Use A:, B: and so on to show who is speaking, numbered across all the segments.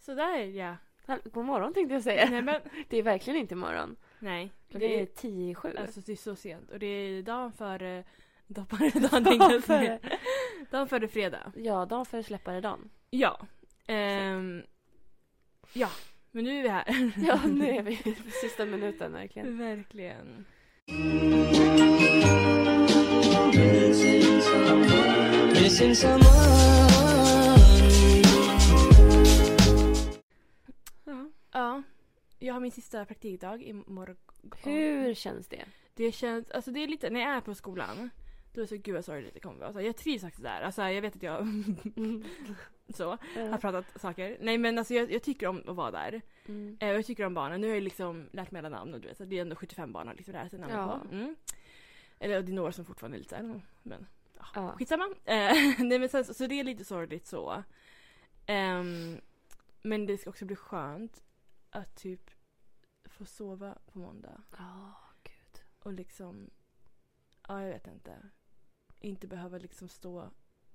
A: Sådär ja.
B: God morgon tänkte jag säga.
A: Nej men.
B: Det är verkligen inte morgon.
A: Nej.
B: Klockan
A: Det
B: är
A: är,
B: tio i sju.
A: alltså det är så sent. Och det är dagen före... Dagen före dagen
B: Dagen
A: tänkte jag säga.
B: före.
A: Dagen före fredag.
B: Ja, dagen före släpparedagen.
A: Ja. Ehm, ja. Men nu är vi här.
B: Ja, nu är vi i sista minuten verkligen.
A: Verkligen.
C: Missing someone.
A: Ja. ja. Jag har min sista praktikdag imorgon.
B: Hur känns det?
A: Det känns, alltså det är lite, när jag är på skolan då är det så gud vad sorgligt det kommer vara. Alltså, jag trivs faktiskt där. Alltså jag vet att jag
B: Mm.
A: så, har pratat saker. Nej men alltså jag, jag tycker om att vara där.
B: Mm.
A: Eh, och jag tycker om barnen. Nu har jag liksom lärt mig alla namn och du vet, så det är ändå 75 barn att liksom lära sig namn
B: Ja.
A: på. Mm. Eller och det är några som fortfarande är lite såhär, men
B: Ja.
A: skitsamma. Eh, nej men sen, så, så det är lite sorgligt så. Ehm, men det ska också bli skönt att typ få sova på måndag.
B: Ja, gud.
A: Och liksom, ja jag vet inte. Inte behöva liksom stå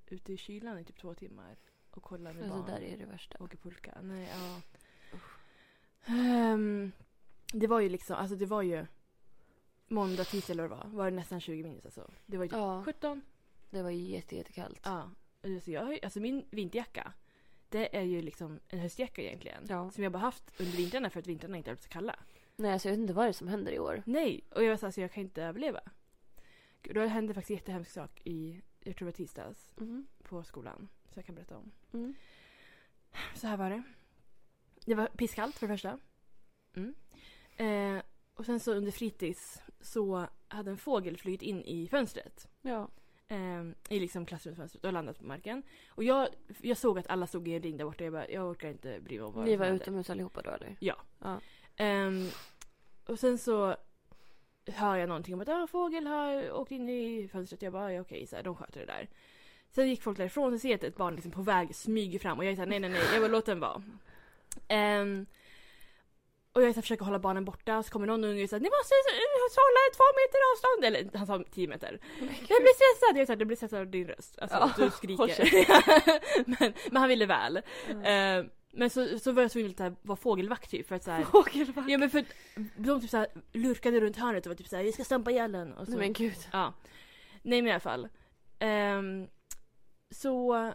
A: ute i kylan i typ två timmar och kolla med
B: Alltså,
A: barn.
B: där är det värsta.
A: Åker pulka. Nej, ja. Ehm, det var ju liksom, alltså det var ju måndag, tisdag eller vad det var. Var det nästan 20 minus alltså. Det var ju typ
B: Ja,
A: 17.
B: det var ju jätte, jättekallt.
A: Ja. Alltså, jag, har ju- alltså min vinterjacka, det är ju liksom en höstjacka egentligen.
B: Ja.
A: Som jag bara haft under vintrarna för att vintrarna inte har blivit så kalla.
B: Nej, alltså jag vet inte vad det är som händer i år.
A: Nej, och jag var såhär, så alltså, jag kan inte överleva. Gud, då hände faktiskt en jättehemsk sak i, jag tror det var tisdags,
B: Mm.
A: på skolan. Så jag kan berätta om.
B: Mm.
A: Så här var det. Det var pisskallt för det första. Mm. Eh, och sen så under fritids så hade en fågel flugit in i fönstret.
B: Ja.
A: Eh, I liksom klassrumsfönstret och landat på marken. Och jag, jag såg att alla stod i en ring där borta. Jag bara, jag orkar inte bry mig om vad
B: Ni
A: som
B: var
A: händer.
B: utomhus allihopa då eller?
A: Ehm, och sen så hör jag någonting om att ah, fågel har åkt in i fönstret. Jag bara, ja, okej, så här, de sköter det där. Sen gick folk därifrån och ser jag att ett barn liksom på väg smyger fram och jag är såhär, nej nej nej, jag vill låt den vara. Ehm, och jag så här, försöker hålla barnen borta så kommer någon unge och säger ni måste eh, hålla två meter avstånd. Eller han sa tio meter. Jag blir stressad. Jag är såhär, du blir stressad av din röst. Alltså
B: Ja,
A: du
B: håll
A: skriker. men, men han ville väl.
B: Mm.
A: Ehm, men så, så var jag tvungen att vara fågelvakt typ för att såhär
B: Fågelvakt.
A: Ja men för att de typ så här lurkade runt hörnet och var typ såhär vi ska stampa ihjäl den. Och så.
B: Nej men gud.
A: Ja. Nej men i alla fall. Ehm, så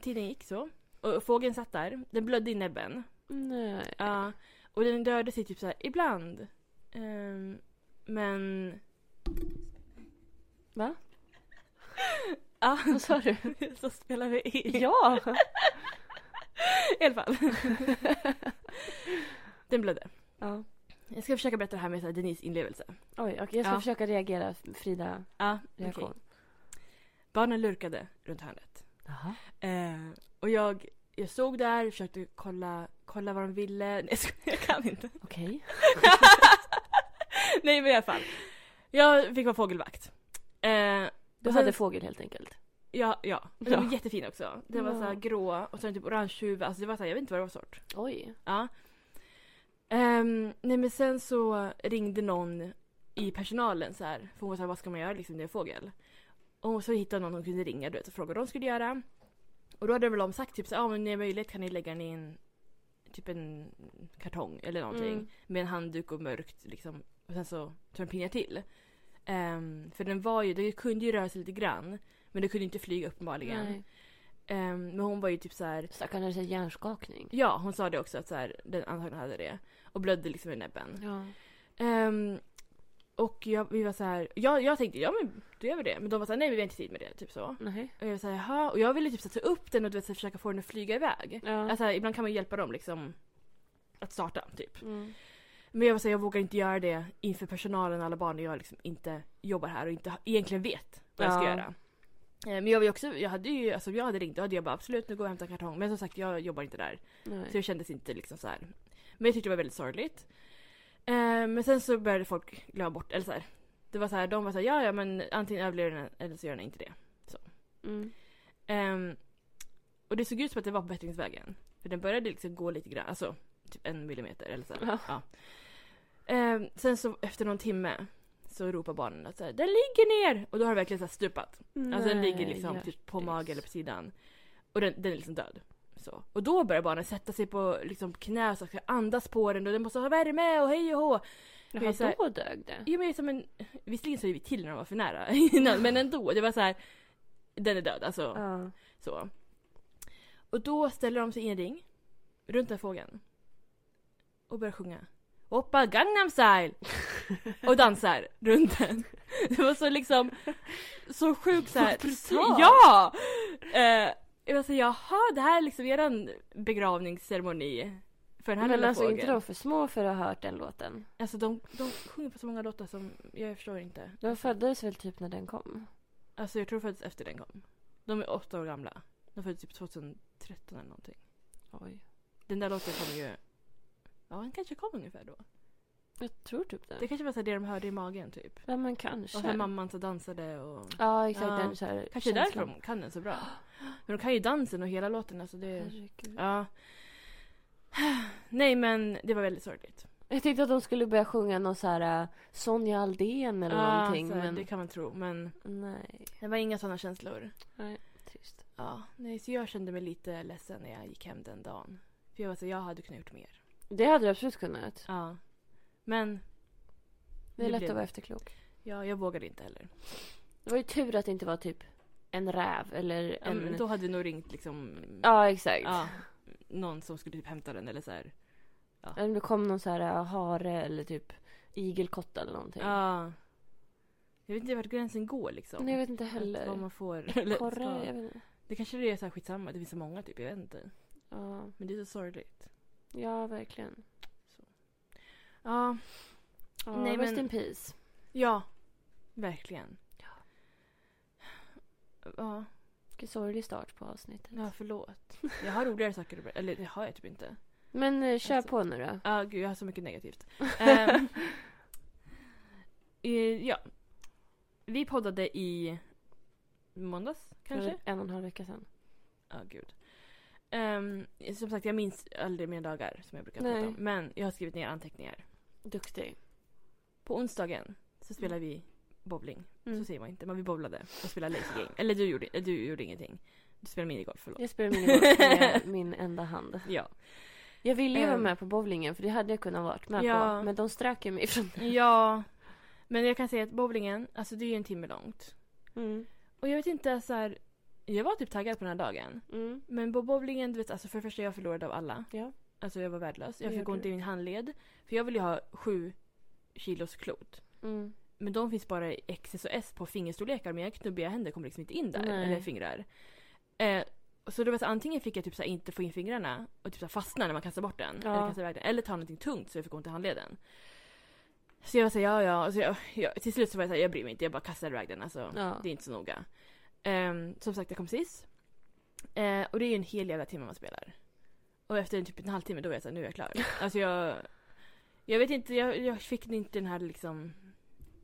A: tiden gick så. Och fågeln satt där. Den blödde i näbben.
B: Nej.
A: Ja. Och den rörde sig typ så här ibland. Ehm, men...
B: Va?
A: Ja.
B: Vad sa du?
A: så spelar vi in.
B: ja!
A: I alla fall. den blödde.
B: ja.
A: Jag ska försöka berätta det här med så här Denise inlevelse.
B: Oj, okej jag ska
A: Ja.
B: försöka reagera Frida
A: Ja, okej.
B: reaktion.
A: Barnen lurkade runt hörnet.
B: Jaha.
A: Eh, och jag, jag stod där, försökte kolla, kolla vad de ville. Nej, jag skojar, jag kan inte.
B: Okej.
A: Nej men i alla fall. Jag fick vara fågelvakt. Eh,
B: Du
A: och sen-
B: hade fågel helt enkelt.
A: Ja, ja. Och De
B: Ja.
A: var jättefina också. Det var
B: Ja.
A: så här grå och sen typ orange huvud. Alltså det var så här, jag vet inte vad det var för sort.
B: Oj.
A: Ja. Ehm, nej men sen så ringde någon i personalen så här. För hon var så här, vad ska man göra liksom, det är en fågel. Och så hittade hon någon hon kunde ringa du vet, och fråga vad de skulle göra. Och då hade väl de sagt typ så här, ah, men om ni har möjlighet kan ni lägga den i en typ en kartong eller någonting.
B: Mm.
A: Med en handduk och mörkt liksom. Och sen så tror de pingar till. Ehm, för den var ju, den kunde ju röra sig lite grann. Men den kunde inte flyga uppenbarligen.
B: Nej.
A: Ehm, men hon var ju typ så här
B: Stackarn hade sån hjärnskakning.
A: Ja, hon sa det också att så här, den antagligen hade det. Och blödde liksom i näbben.
B: Ja.
A: Ehm, och jag, vi var så här, jag, jag tänkte ja men då gör vi det. Men de var så här, nej men vi har inte tid med det. Typ så.
B: Nej.
A: Och jag var så här, jaha. Och jag ville typ så här, ta upp den och du vet, så här, försöka få den att flyga iväg.
B: Ja.
A: Alltså, ibland kan man ju hjälpa dem liksom att starta typ.
B: Mm.
A: Men jag var så här, jag vågar inte göra det inför personalen och alla barn när jag liksom inte jobbar här och inte ha- egentligen vet vad jag ska
B: Ja.
A: göra. Eh, Men jag var ju också, jag hade ju, alltså om jag hade ringt då hade jag bara absolut nu går jag och hämtar en kartong. Men som sagt jag jobbar inte där.
B: Nej.
A: Så det kändes inte liksom så här. Men jag tyckte det var väldigt sorgligt. Eh, men sen så började folk glömma bort, eller så här. Det var så här, de var så här, ja ja men antingen överlever den eller så gör den inte det.
B: Mm.
A: Ehm, och det såg ut som att det var på bättringsvägen. För den började liksom gå lite grann, alltså typ en millimeter eller så. här.
B: Ja.
A: Ja. Ehm, sen så efter någon timme så ropar barnen att så här, den ligger ner! Och då har den verkligen så här stupat. Alltså den ligger
B: Nej,
A: liksom
B: hjärtis.
A: typ på magen eller på sidan. Och den, den är liksom död. Så. Och då börjar barnen sätta sig på liksom, knä så att de ska andas på den och den måste ha värme och hej och hå.
B: Jaha,
A: så här-
B: då dög det.
A: Jo, men som en, visserligen så är vi till när de var för nära innan, men ändå. Det var så här. Den är död alltså.
B: Ja.
A: Så. Och då ställer de sig i en ring runt den här fågeln. Och börjar sjunga. Hoppa Gangnam style! Och dansar runt den. Det var så liksom, så sjukt såhär.
B: Vad brutalt.
A: Ja! Eh, jag var så jaha det här är liksom eran begravningsceremoni. För den här
B: Men
A: lilla
B: alltså
A: fågeln.
B: inte de för små för att ha hört den låten.
A: Alltså de, de sjunger på så många låtar som, jag förstår inte.
B: De föddes väl typ när den kom?
A: Alltså jag tror de föddes efter den kom. De är åtta år gamla. De föddes typ 2013 eller någonting.
B: Oj.
A: Den där låten kom ju... Ja, den kanske kom ungefär då.
B: Jag tror typ det.
A: Det kanske var så här det de hörde i magen typ.
B: Ja men
A: Och sen
B: kanske.
A: mamman så dansade och...
B: Ja exakt
A: Ja.
B: den så här
A: Kanske är därför
B: känslan.
A: de kan den så bra. Men de kan ju dansen och hela låten alltså det...
B: Herregud.
A: Ja. Nej men det var väldigt sorgligt.
B: Jag tänkte att de skulle börja sjunga någon så här eh, Sonja Aldén eller
A: Ja,
B: någonting.
A: så här,
B: Men
A: Det kan man tro men
B: nej.
A: det var inga sådana känslor.
B: Nej, trist.
A: Ja, nej så jag kände mig lite ledsen när jag gick hem den dagen. För jag var så jag hade kunnat gjort mer.
B: Det hade du absolut kunnat.
A: Ja. Men
B: Det är
A: Det
B: lätt
A: blev-
B: att vara efterklok.
A: ja, jag vågade inte heller.
B: Det var ju tur att det inte var typ en räv eller
A: Ja, men
B: en...
A: Då hade vi nog ringt liksom...
B: Ja exakt.
A: ja, någon som skulle typ hämta den eller så här.
B: Eller det kom någon så här eh, hare eller typ igelkott eller någonting.
A: Ja. Jag vet inte vart gränsen går liksom.
B: Nej jag vet inte
A: Att Vad
B: heller.
A: man får. Eller,
B: Korre,
A: ska.
B: jag vet inte.
A: Det kanske det är så här skitsamma, det finns så många typ, jag vet inte.
B: Ja.
A: Men det är så sorgligt.
B: ja, verkligen.
A: Ja,
B: Ja,
A: Nej,
B: rest
A: men-
B: in peace.
A: ja. Verkligen.
B: Ja.
A: Ja,
B: Vilken sorglig start på avsnittet.
A: ja förlåt. Jag har roligare saker att ber- Eller det har jag typ inte.
B: Men eh, kör
A: Alltså.
B: på nu då.
A: Ja, gud jag har så mycket negativt. Ehm, eh, ja. Vi poddade i måndags kanske?
B: För en och en halv vecka sedan.
A: Ja, gud. Ehm, som sagt, jag minns aldrig mina dagar som jag brukar prata
B: Nej.
A: om. Men jag har skrivit ner anteckningar.
B: Duktig.
A: På onsdagen så spelar vi bowling.
B: Mm.
A: Så säger man inte, men vi bowlade och spelade lazy game. Eller du gjorde, du gjorde ingenting. Du spelade minigolf, förlåt.
B: Jag spelar minigolf med min enda hand.
A: Ja.
B: Jag ville ju vara
A: Ehm.
B: med på bowlingen för det hade jag kunnat vara med
A: Ja.
B: på. Men de strök ju mig från det.
A: ja. Men jag kan säga att bowlingen, alltså det är ju en timme långt.
B: Mm.
A: Och jag vet inte, så här, jag var typ taggad på den här dagen.
B: Mm.
A: Men på bowlingen, du vet, alltså för det första jag förlorade av alla.
B: Ja.
A: Alltså jag var värdelös. Jag
B: Vad
A: fick
B: gjorde
A: ont
B: du?
A: i min handled. För jag vill ju ha sju kilos klot.
B: Mm.
A: Men de finns bara i XS och S på fingerstorlekar. Mina knubbiga händer kommer liksom inte in där.
B: Nej.
A: Eller fingrar. Eh, så det var så antingen fick jag typ så här inte få in fingrarna och typ så här fastna när man kastar bort den.
B: Ja.
A: Eller, kastar iväg den, eller ta någonting tungt så jag fick ont i handleden. Så jag var såhär, ja ja. Och Så jag, jag, till slut så var jag såhär, jag bryr mig inte. Jag bara kastar iväg den. Alltså,
B: Ja.
A: Det är inte så noga. Ehm, som sagt, jag kom sist. Eh, och det är ju en hel jävla timme man spelar. Och efter typ en halvtimme då var jag såhär, nu är jag klar. Alltså jag... Jag vet inte, jag, jag fick inte den här liksom...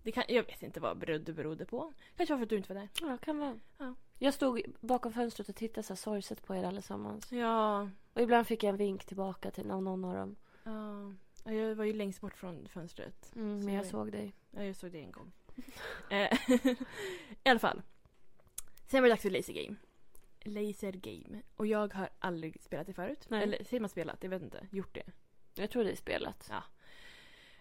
A: Det kan, jag vet inte vad bero- det berodde på. Kanske var för att du inte var där.
B: ja, kan vara.
A: Ja.
B: Jag stod bakom fönstret och tittade så här sorgset på er allesammans.
A: Ja,
B: Och ibland fick jag en vink tillbaka till av någon av dem.
A: ja. Ja, Jag var ju längst bort från fönstret.
B: Mm, men jag
A: Sorry.
B: såg dig.
A: Ja, jag såg det en gång. Eh, I alla fall. Sen var det dags för Laser Game. Laser Game. Och jag har aldrig spelat det förut.
B: Nej.
A: Eller säger man spelat? Jag vet inte. Gjort det.
B: Jag tror det är spelat.
A: Ja.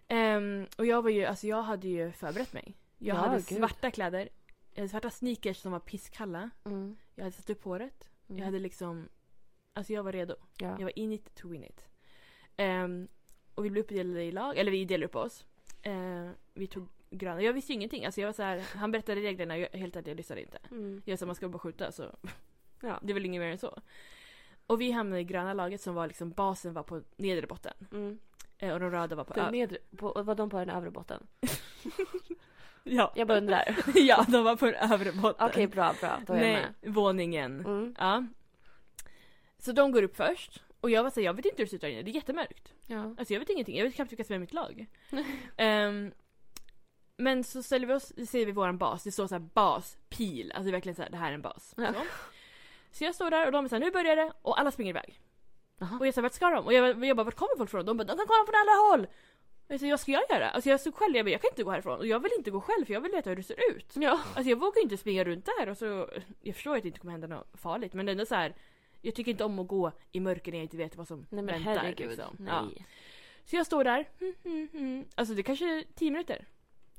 A: Ehm, och jag var ju, alltså jag hade ju förberett mig. Jag
B: Ja,
A: hade
B: gud.
A: svarta kläder, eh, svarta sneakers som var pisskalla.
B: Mm.
A: Jag hade satt upp håret.
B: Mm.
A: Jag hade liksom, alltså jag var redo.
B: ja.
A: Jag var in it to win it. Ehm, och vi blev uppdelade i lag, eller vi delade upp oss. Ehm, vi tog gröna, jag visste ju ingenting. Alltså jag var så här, han berättade reglerna och jag, helt ärligt jag lyssnade inte.
B: Mm.
A: Jag sa man ska bara skjuta så
B: Ja.
A: det är väl inget mer än så. Och vi hamnade i gröna laget som var liksom basen var på nedre botten.
B: Mm.
A: Eh, och de röda var på
B: Den
A: ö-
B: nedre, på, var de på den övre botten?
A: Ja.
B: Jag bara undrar.
A: ja, de var på den övre botten.
B: Okej, bra, bra. Då är jag
A: Nej,
B: med.
A: våningen.
B: Mm.
A: Ja. Så de går upp först. Och jag var såhär, jag vet inte hur det ser ut där inne. Det är jättemörkt.
B: Ja.
A: Alltså jag vet ingenting. Jag vet knappt vilka som är mitt lag. Ehm, men så ställer vi oss, säger vi våran bas. Det står såhär bas, pil. Alltså verkligen såhär, det här är en bas.
B: Ja.
A: Så. så jag står där och de är såhär, nu börjar det. Och alla springer iväg.
B: Jaha.
A: Och jag sa, vart ska de? Och jag, jag bara, vart kommer folk ifrån? De bara, de kommer från alla håll! Och jag sa, vad ska jag göra? Alltså jag stod själv, jag bara, jag kan inte gå härifrån. Och jag vill inte gå själv för jag vill veta hur det ser ut.
B: Ja.
A: Alltså jag vågar ju inte springa runt där och så, jag förstår att det inte kommer hända något farligt men det är ändå så här. Jag tycker inte om att gå i mörker när jag inte vet vad som
B: Nej men
A: väntar.
B: herregud.
A: liksom. Ja.
B: Nej.
A: Så jag står där. Mm, mm, mm. Alltså det kanske är 10 minuter.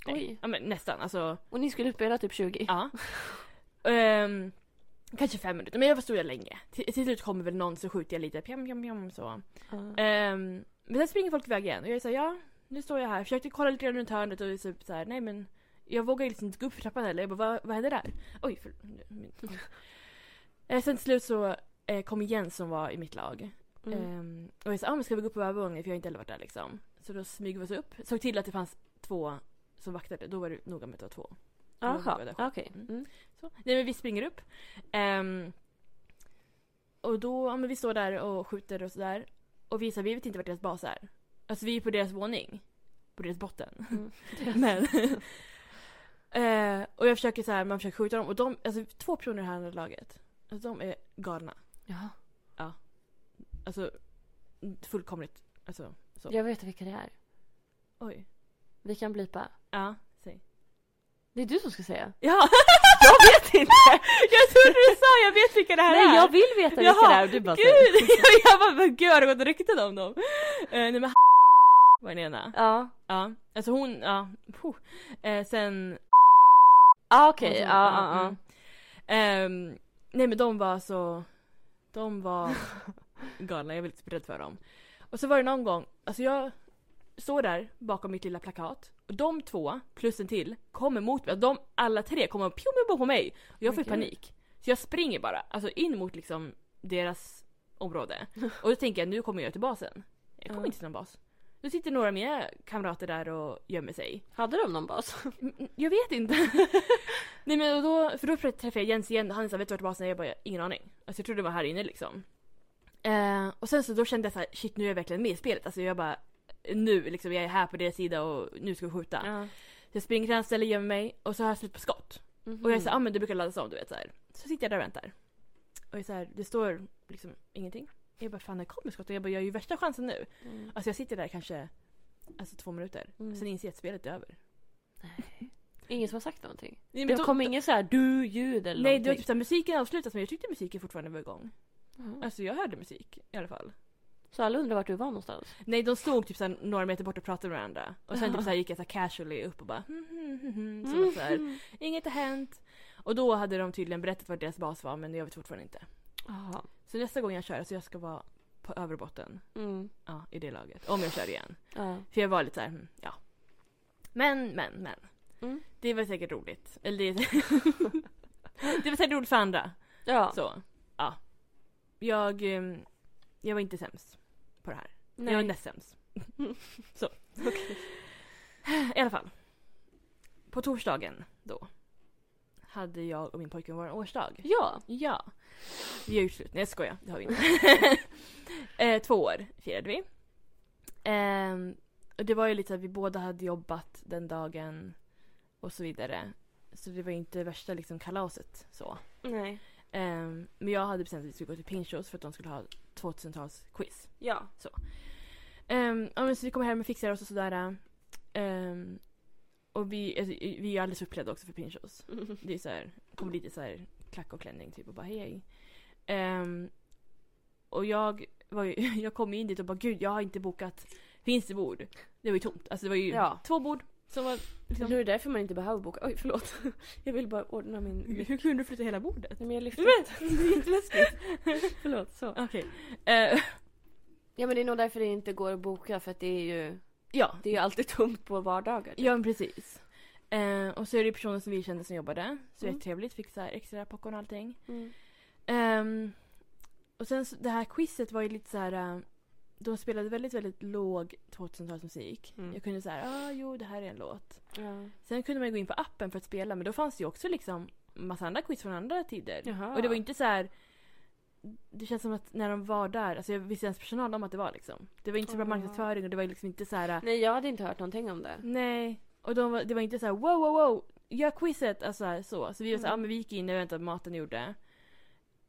A: Nej.
B: Oj.
A: Ja, men nästan. Alltså,
B: Och ni skulle spela typ 20?
A: ja. Ehm, kanske fem minuter. Men jag stod där länge. Till, till slut kommer väl någon så skjuter jag lite. Pjam, pjam, pjam, så.
B: Ja.
A: Ehm, men sen springer folk iväg igen och jag är såhär, ja nu står jag här. Försökte kolla lite grann runt hörnet och typ såhär, nej men jag vågar liksom inte gå upp för trappan heller. Jag bara, vad, vad hände där? Oj, för... min- Eh, Sen till slut så eh, kom Jens som var i mitt lag.
B: Mm.
A: Ehm, och jag sa, ah, men ska vi gå upp på övervåningen? För jag har inte heller varit där liksom. Så då smyger vi oss upp. Såg till att det fanns två som vaktade. Då var det noga med att det var två.
B: Jaha,
A: Mm.
B: okej. Mm.
A: Så. Nej men vi springer upp. Ehm, och då, ja, men vi står där och skjuter och sådär. Och vi, så här, vi vet inte vart deras bas är. Alltså vi är på deras våning. På deras botten.
B: Mm.
A: men. Eh, och jag försöker så här, man försöker skjuta dem. Och de, alltså två personer i det här laget. Alltså de är galna.
B: Jaha.
A: Alltså fullkomligt. Alltså,
B: Jag vet vilka det är.
A: oj.
B: Vi kan blipa.
A: Ja, säg.
B: Det är du som ska säga.
A: Ja! jag vet inte! jag trodde du sa jag vet vilka det här är!
B: Nej, jag vill veta vilka
A: Jaha,
B: Alltså, det är. Du bara säger.
A: Gud! jag bara, men gud har det gått rykten om dem? Eh, nej men var den ena.
B: Ja.
A: Ja, alltså hon, ja. puh. Eh, sen...
B: Ah, okej.
A: hon som-
B: Ja, ja, ja.
A: mm. Ehm, nej men de var så... De var galna, jag var lite rädd för dem. Och så var det någon gång, alltså jag står där bakom mitt lilla plakat och de två, plus en till, kommer mot mig. De alla tre kommer och pjom på mig. Och jag
B: Men
A: får ju
B: gud.
A: panik. Så jag springer bara, alltså in mot liksom deras område. Och då tänker jag nu kommer jag till basen. Jag kommer
B: Ja.
A: inte till någon bas. Då sitter några av mina kamrater där och gömmer sig.
B: Hade de någon bas?
A: Mm, mm, Jag vet inte. Nej men och då, för då träffade jag Jens igen och han sa vet du vart basen är? Jag bara ingen aning. Alltså jag trodde det var här inne liksom. Eh, och sen så då kände jag så här, shit nu är jag verkligen med i spelet. Alltså jag bara nu liksom, jag är här på deras sida och nu ska jag skjuta.
B: Mm-hmm.
A: Så jag springer till hans ställe, gömmer mig och så har jag slut på skott.
B: Mhm.
A: Och jag säger, ah, men det brukar laddas om du vet så här. Så sitter jag där och väntar. Och jag säger, det står liksom ingenting. Jag bara, fan när kommer skottet? Jag bara, jag har ju värsta chansen nu.
B: Mm.
A: Alltså jag sitter där kanske, alltså två minuter.
B: Mm.
A: Sen inser jag att spelet är över.
B: Ingen som har sagt någonting?
A: Nej,
B: det kom ingen så här du-ljud eller
A: Nej, det var
B: någonting?
A: typ såhär, musiken avslutas men jag tyckte musiken fortfarande var igång.
B: Jaha.
A: Alltså jag hörde musik i alla fall.
B: Så typ- alla undrar vart du var någonstans?
A: Nej, de stod typ såhär några meter bort och pratade med varandra. Och sen typ såhär gick jag såhär casually upp och bara, hmm, hmm, hmm, hmm, som att såhär,
B: Mhm.
A: inget har hänt. Och då hade de tydligen berättat var deras bas var men jag vet fortfarande inte.
B: Jaha.
A: Så nästa gång jag kör, alltså jag ska vara på överbotten.
B: Mm.
A: Ja, i det laget. Om jag kör igen.
B: Ja.
A: För jag var lite så här, mm, ja. Men, men, men.
B: Mm.
A: Det var säkert roligt. Eller det... det var säkert roligt för andra.
B: ja.
A: Så, ja. Jag, eh, jag var inte sämst på det här.
B: Nej.
A: Jag var näst sämst. så. I alla fall. På torsdagen då. Hade jag och min pojkvän vår årsdag.
B: Ja.
A: Ja. Vi har gjort slut. Nej jag skojar, det har vi inte. eh, två år firade vi. Ehm, och det var ju lite att vi båda hade jobbat den dagen och så vidare. Så det var ju inte värsta liksom kalaset så.
B: Nej.
A: Ehm, men jag hade bestämt att vi skulle gå till Pinchos för att de skulle ha 2000-talsquiz.
B: Ja.
A: Um, ja, men så vi kommer hem och fixar oss och sådär. Ehm, och vi, alltså, vi är ju alldeles uppklädda också för Pinchos. Det är så här, kommer lite så här klack och klänning typ och bara hej hej. Ehm, och jag, var ju, jag kom in dit och bara gud jag har inte bokat, finns det bord? Det var ju tomt, alltså det var ju
B: Ja.
A: två bord som var
B: Nu är
A: liksom,
B: det därför man inte behöver boka. Oj, förlåt. Jag vill bara ordna min...
A: hur,
B: Nej,
A: hur kunde du flytta hela bordet?
B: men jag lyfter.
A: Du vet, det är jätteläskigt.
B: Förlåt. Så.
A: Okej. Eh,
B: Ja, men det är nog därför det inte går att boka för att det är ju...
A: ja,
B: Det är ju alltid tomt på vardagar.
A: ja men precis. Eh, och så är det personer som vi kände som jobbade, så
B: Mm.
A: jättetrevligt, fick så här extra popcorn och allting.
B: Mm.
A: Ehm, och sen så, det här quizet var ju lite så här. eh, De spelade väldigt, väldigt låg 2000-talsmusik.
B: Mm.
A: Jag kunde så här, ah, jo det här är en låt.
B: Ja.
A: Sen kunde man ju gå in på appen för att spela men då fanns det ju också liksom massa andra quiz från andra tider.
B: Jaha.
A: Och det var ju inte så här. Det känns som att när de var där, alltså jag visste ens personal om att det var liksom. Det var inte så bra
B: Ah.
A: marknadsföring och det var ju liksom inte så här. eh,
B: Nej, jag hade inte hört någonting om det.
A: Nej. Och de var, det var inte så här wow wow wow, gör quizet! Alltså här, så. Så vi var så här,
B: Mm.
A: ah, men vi gick in och väntade på maten och gjorde.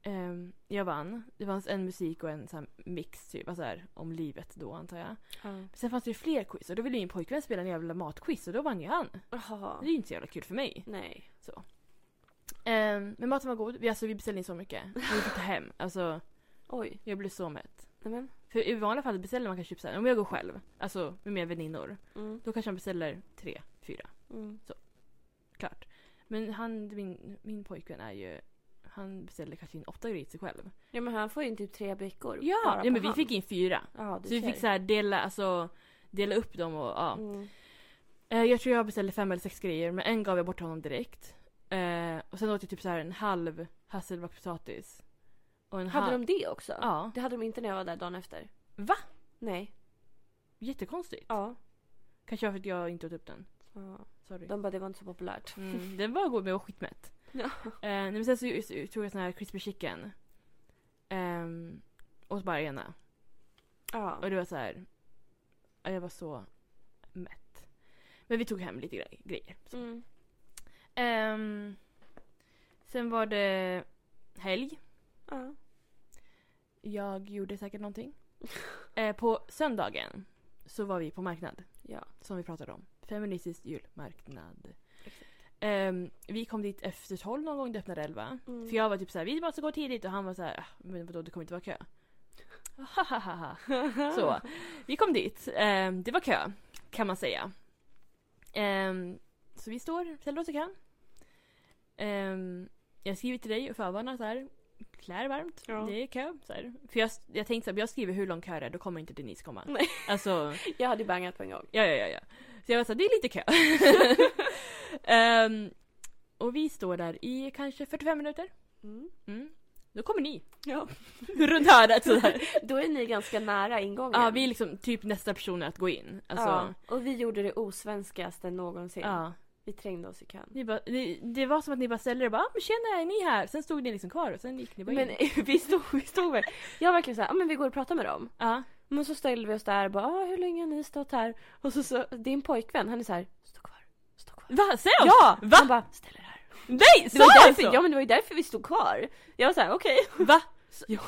A: Ehm, jag vann. Det fanns en musik och en så här, mix typ, alltså här, om livet då antar jag.
B: Ja.
A: Sen fanns det ju fler quiz och då ville min pojkvän spela en jävla matquiz och då vann ju han. Det är
B: Jaha.
A: ju inte så jävla kul för mig.
B: Nej.
A: Ehm, men maten var god, vi, alltså, vi beställde in så mycket. Vi fick ta hem. Alltså,
B: Oj.
A: Jag blir så mätt.
B: Nej men.
A: För i vanliga fall beställer man kanske typ så här, om jag går själv, alltså med mina väninnor,
B: Mm.
A: då kanske han beställer tre, fyra.
B: Mm.
A: Klart. Men han, min, min pojkvän är ju, han beställer kanske in åtta grejer till sig själv.
B: Ja men han får in typ tre brickor.
A: Ja,
B: bara
A: ja
B: på
A: men vi
B: hand.
A: fick in fyra.
B: Ja, du
A: Så vi
B: ser.
A: fick så här dela, alltså, dela upp dem och ja.
B: Mm.
A: Eh, Jag tror jag beställde fem eller sex grejer men en gav jag bort till honom direkt. Eh, och sen åt jag typ så här en halv hasselbackpotatis. Och en
B: Hade
A: halv...
B: de det också?
A: Ja.
B: Det hade de inte när jag var där dagen efter.
A: Va?
B: Nej.
A: Jättekonstigt.
B: Ja.
A: Kanske var för att jag inte åt upp den.
B: ja.
A: Sorry.
B: De bara, det var inte så populärt.
A: Mm, den var god men jag var skitmätt.
B: Ja.
A: Eh, nej, men sen så just- tog jag sån här crispy chicken. Ehm, åt bara ena.
B: Ja.
A: Och det var så här. ja, Jag var så mätt. Men vi tog hem lite gre- grejer. Så.
B: Mm.
A: Ehm, sen var det helg.
B: Ja.
A: Jag gjorde säkert någonting. eh, på söndagen så var vi på marknad,
B: Ja.
A: som vi pratade om. Feministisk julmarknad.
B: Exakt.
A: Ehm, vi kom dit efter tolv någon gång, det öppnade elva.
B: Mm.
A: För jag var typ såhär, vi måste gå tidigt och han var såhär, "Ah, men vadå det kommer inte vara kö. Hahaha. så, vi kom dit. Ehm, det var kö, kan man säga. Ehm, så vi står, ställer oss i kön. Ehm, jag skriver till dig och förvarnar så här. Klär varmt,
B: Ja.
A: det är kö. Så här. För jag, jag tänkte så här, jag skriver hur lång kö det är, då kommer inte Denise komma.
B: Nej.
A: Alltså,
B: Jag hade ju bangat på en gång.
A: Ja, ja, ja. ja. Så jag var såhär, det är lite kö. Ehm, och vi står där i kanske 45 minuter.
B: Mm.
A: Mm. Då kommer ni.
B: Ja.
A: Runt hörnet sådär.
B: Då är ni ganska nära ingången.
A: Ja, vi är liksom typ nästa personer att gå in. Alltså,
B: ja. Och vi gjorde det osvenskaste någonsin.
A: ja.
B: Vi trängde oss i kön.
A: Ni bara, ni, det var som att ni bara ställde er och bara ah, men tjena, är ni här? Sen stod ni liksom kvar och sen gick ni bara
B: Men
A: in.
B: vi stod, vi stod med. Jag var verkligen såhär, ja men vi går och pratar med dem.
A: Ja.
B: Men så ställde vi oss där och bara, ah, hur länge har ni stått här? Och så, så din pojkvän, han är såhär, stå kvar, stå kvar.
A: Va? Säg oss!
B: Ja!
A: Va?
B: Han bara, ställ er här.
A: Nej!
B: Det
A: Sa
B: var,
A: jag
B: därför,
A: så?
B: ja, men det var ju därför vi stod kvar. Jag var såhär, okej.
A: Va?
B: Ja,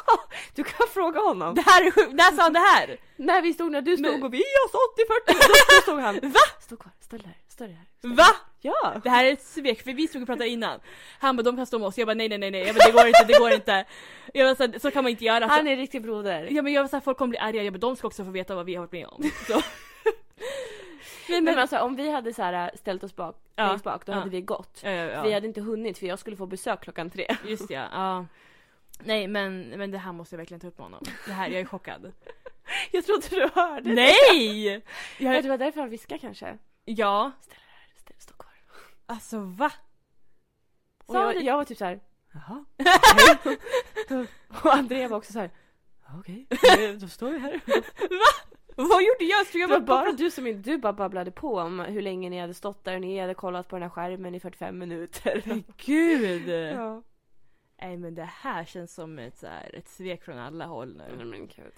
B: du kan fråga honom.
A: Det här är sjukt, när sa han det här?
B: När vi stod, när du stod
A: Men-
B: och vi har stått i 40 minuter, då stod han.
A: Va?
B: Stå kvar, ställ dig här, ställ dig här.
A: Va?
B: Ja!
A: Det här är ett svek för vi stod och pratade innan. Han bara de kan stå med oss, jag bara nej nej nej nej, jag bara, det går inte, det går inte. Jag bara, så, här, så kan man inte göra. Så,
B: Han är riktig broder.
A: ja, men jag var så här, folk kommer bli arga, jag bara de ska också få veta vad vi har varit med om. Så.
B: Men, alltså om vi hade så här ställt oss bak,
A: Ja.
B: längst bak, då
A: Ja.
B: hade vi gått.
A: Ja, eh, ja,
B: Vi
A: ja.
B: hade inte hunnit för jag skulle få besök klockan tre.
A: Just det, ja. ja. Nej men, men det här måste jag verkligen ta upp med honom. Det här, jag är chockad.
B: Jag trodde du hörde.
A: Nej!
B: Ja,
A: Jag,
B: det var därför han viskade kanske.
A: ja,
B: Ställ- Stå kvar.
A: alltså va?
B: Och
A: Sa
B: jag,
A: du-
B: jag var typ såhär, jaha. och Andrea var också såhär, "Ja, okej, då står vi här.
A: Vad gjorde jag? Stod jag
B: Det var
A: bara,
B: bara du som inte, du bara babblade på om hur länge ni hade stått där och ni hade kollat på den här skärmen i 45 minuter.
A: Gud!
B: ja.
A: Nej men det här känns som ett, så här, ett svek från alla håll nu.
B: men gud.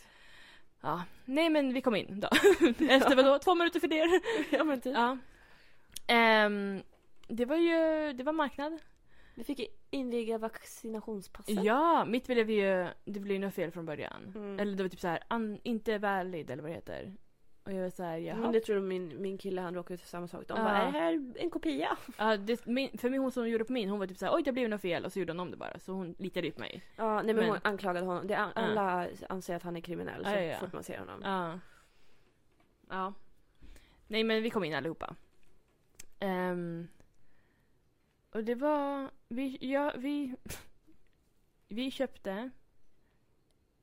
A: Ja. Nej men vi kom in då. Efter vadå? Två minuter för det?
B: Ja men typ.
A: ja. Ehm, det var ju, det var marknad.
B: Vi fick inviga vaccinationspassen.
A: Ja, mitt blev ju, det blev ju något fel från början.
B: Mm.
A: Eller det var typ så här, an, inte valid eller vad det heter. Och jag var såhär,
B: Men
A: jaha.
B: det tror min, min kille han råkade ut för samma sak. De
A: Ja.
B: bara, är det här en kopia?
A: Ja, det, min, för min, hon som gjorde på min, hon var typ såhär, oj det blev något fel och så gjorde hon om det bara. Så hon litade ju på mig.
B: Ja, nej men,
A: Men-
B: hon anklagade honom. Det, är- alla anser att han är kriminell så
A: Ja, ja, ja.
B: fort man ser honom.
A: Ja. Ja. Nej men vi kom in allihopa. Ehm, och det var... Vi, ja, vi, vi köpte...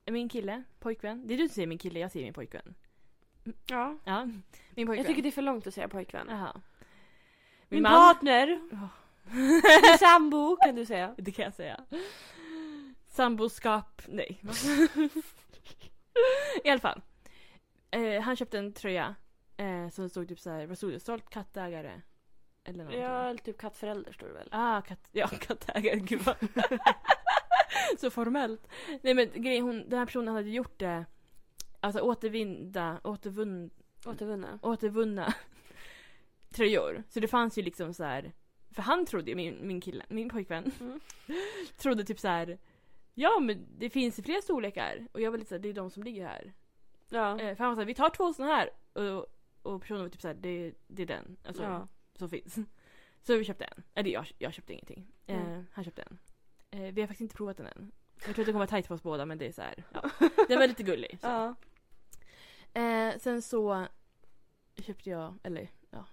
A: Min kille, pojkvän. Det är du som säger min kille, jag säger min pojkvän.
B: Ja.
A: Ja, min pojkvän.
B: Jag tycker det är för långt att säga pojkvän.
A: Jaha. Min,
B: Min
A: man.
B: partner!
A: Ja.
B: Min sambo kan du säga.
A: Det kan jag säga. Samboskap, nej. I alla fall. Eh, han köpte en tröja eh, som stod typ såhär, vad stod det? Stolt kattägare. Eller någonting.
B: Ja, eller typ kattförälder står det väl?
A: Ah, katt, ja, kattägare, gud vad. Så formellt. Nej men grejen, hon, den här personen hade gjort det, alltså återvinda, återvunn,
B: Återvunna.
A: återvunna tröjor. Så det fanns ju liksom så här. För han trodde ju, min, min kille, min pojkvän,
B: Mm.
A: trodde typ så här. Ja men det finns ju flera storlekar. Och jag var lite såhär, det är de som ligger här.
B: Ja.
A: Eh, för han var såhär, vi tar två såna här. Och, och personen var typ såhär, det, det är den. Alltså,
B: ja.
A: Som finns. Så vi köpte en. Eller jag, jag köpte ingenting. Eh,
B: Mm.
A: han köpte en. Eh, vi har faktiskt inte provat den än. Jag tror att det kommer vara tajt för oss båda men det är så här. Ja. Den var lite gullig. Så.
B: Ja.
A: Eh, sen så köpte jag, eller ja,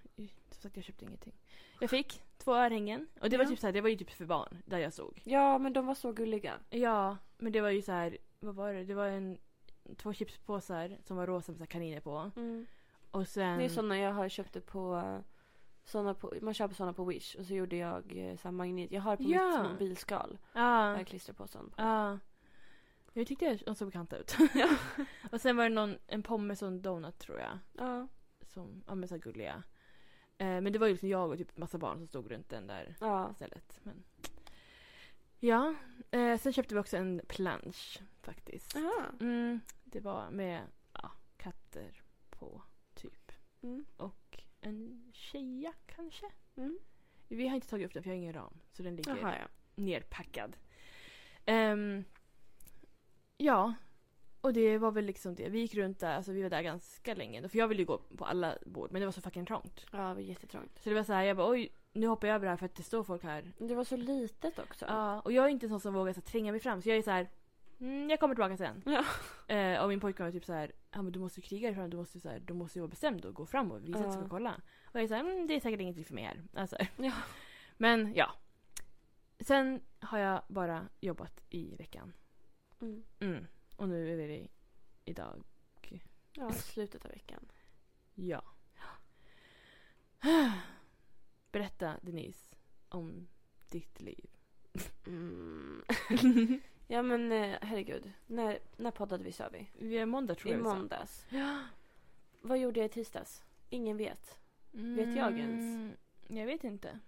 A: som sagt jag köpte ingenting. Jag fick två örhängen och det var
B: Ja.
A: typ så här, det var ju typ för barn där jag såg.
B: ja, men de var så gulliga.
A: Ja, men det var ju så här, vad var det? Det var en, två chipspåsar som var rosa med så här kaniner på.
B: Mm.
A: Och sen...
B: Det är sådana jag har köpte på, eh, såna på... Man köper sådana på Wish och så gjorde jag eh, så här magnet. Jag har på
A: Ja.
B: mitt mobilskal.
A: Ja.
B: Jag klistrar på sån.
A: Ja. Jag tyckte jag- de såg bekanta ut. och sen var det någon, en pommes och en donut tror jag.
B: Ja.
A: Som, ja men så här gulliga. Eh, men det var ju liksom jag och typ massa barn som stod runt den där
B: Ja.
A: stället. Men... Ja. Eh, sen köpte vi också en plansch faktiskt.
B: Aha.
A: Mm, det var med ja, katter på typ.
B: Mm.
A: Och en tjeja kanske?
B: Mm.
A: Vi har inte tagit upp den för jag har ingen ram. Så den ligger
B: Jaha, ja.
A: nerpackad. Ehm, ja, och det var väl liksom det. Vi gick runt där, alltså vi var där ganska länge. För jag ville ju gå på alla bord men det var så fucking trångt.
B: Ja, det var jättetrångt.
A: Så det var så här, jag bara oj, nu hoppar jag över det här för att det står folk här.
B: Men Det var så litet också.
A: Ja, och jag är inte en sån som vågar så här, tränga mig fram så jag är så här, mm, jag kommer tillbaka sen.
B: Ja.
A: Eh, och min pojkvän var typ så här, ja men du måste ju kriga dig fram, du måste, ju så här, du måste ju vara bestämd och gå fram och visa att du
B: Ja.
A: ska kolla. Och jag är så här, mm, det är säkert ingenting för mig här. Alltså,
B: Ja.
A: men ja. Sen har jag bara jobbat i veckan.
B: Mm.
A: Mm. Och nu är det idag.
B: ja, slutet av veckan.
A: Ja. Berätta Denise om ditt liv.
B: Mm. ja, men eh, herregud. När, när poddade vi, sa vi?
A: Vi är måndag tror
B: I
A: jag vi sa.
B: måndags. Vad gjorde jag i tisdags? Ingen vet. Vet jag ens?
A: Mm, Jag vet inte.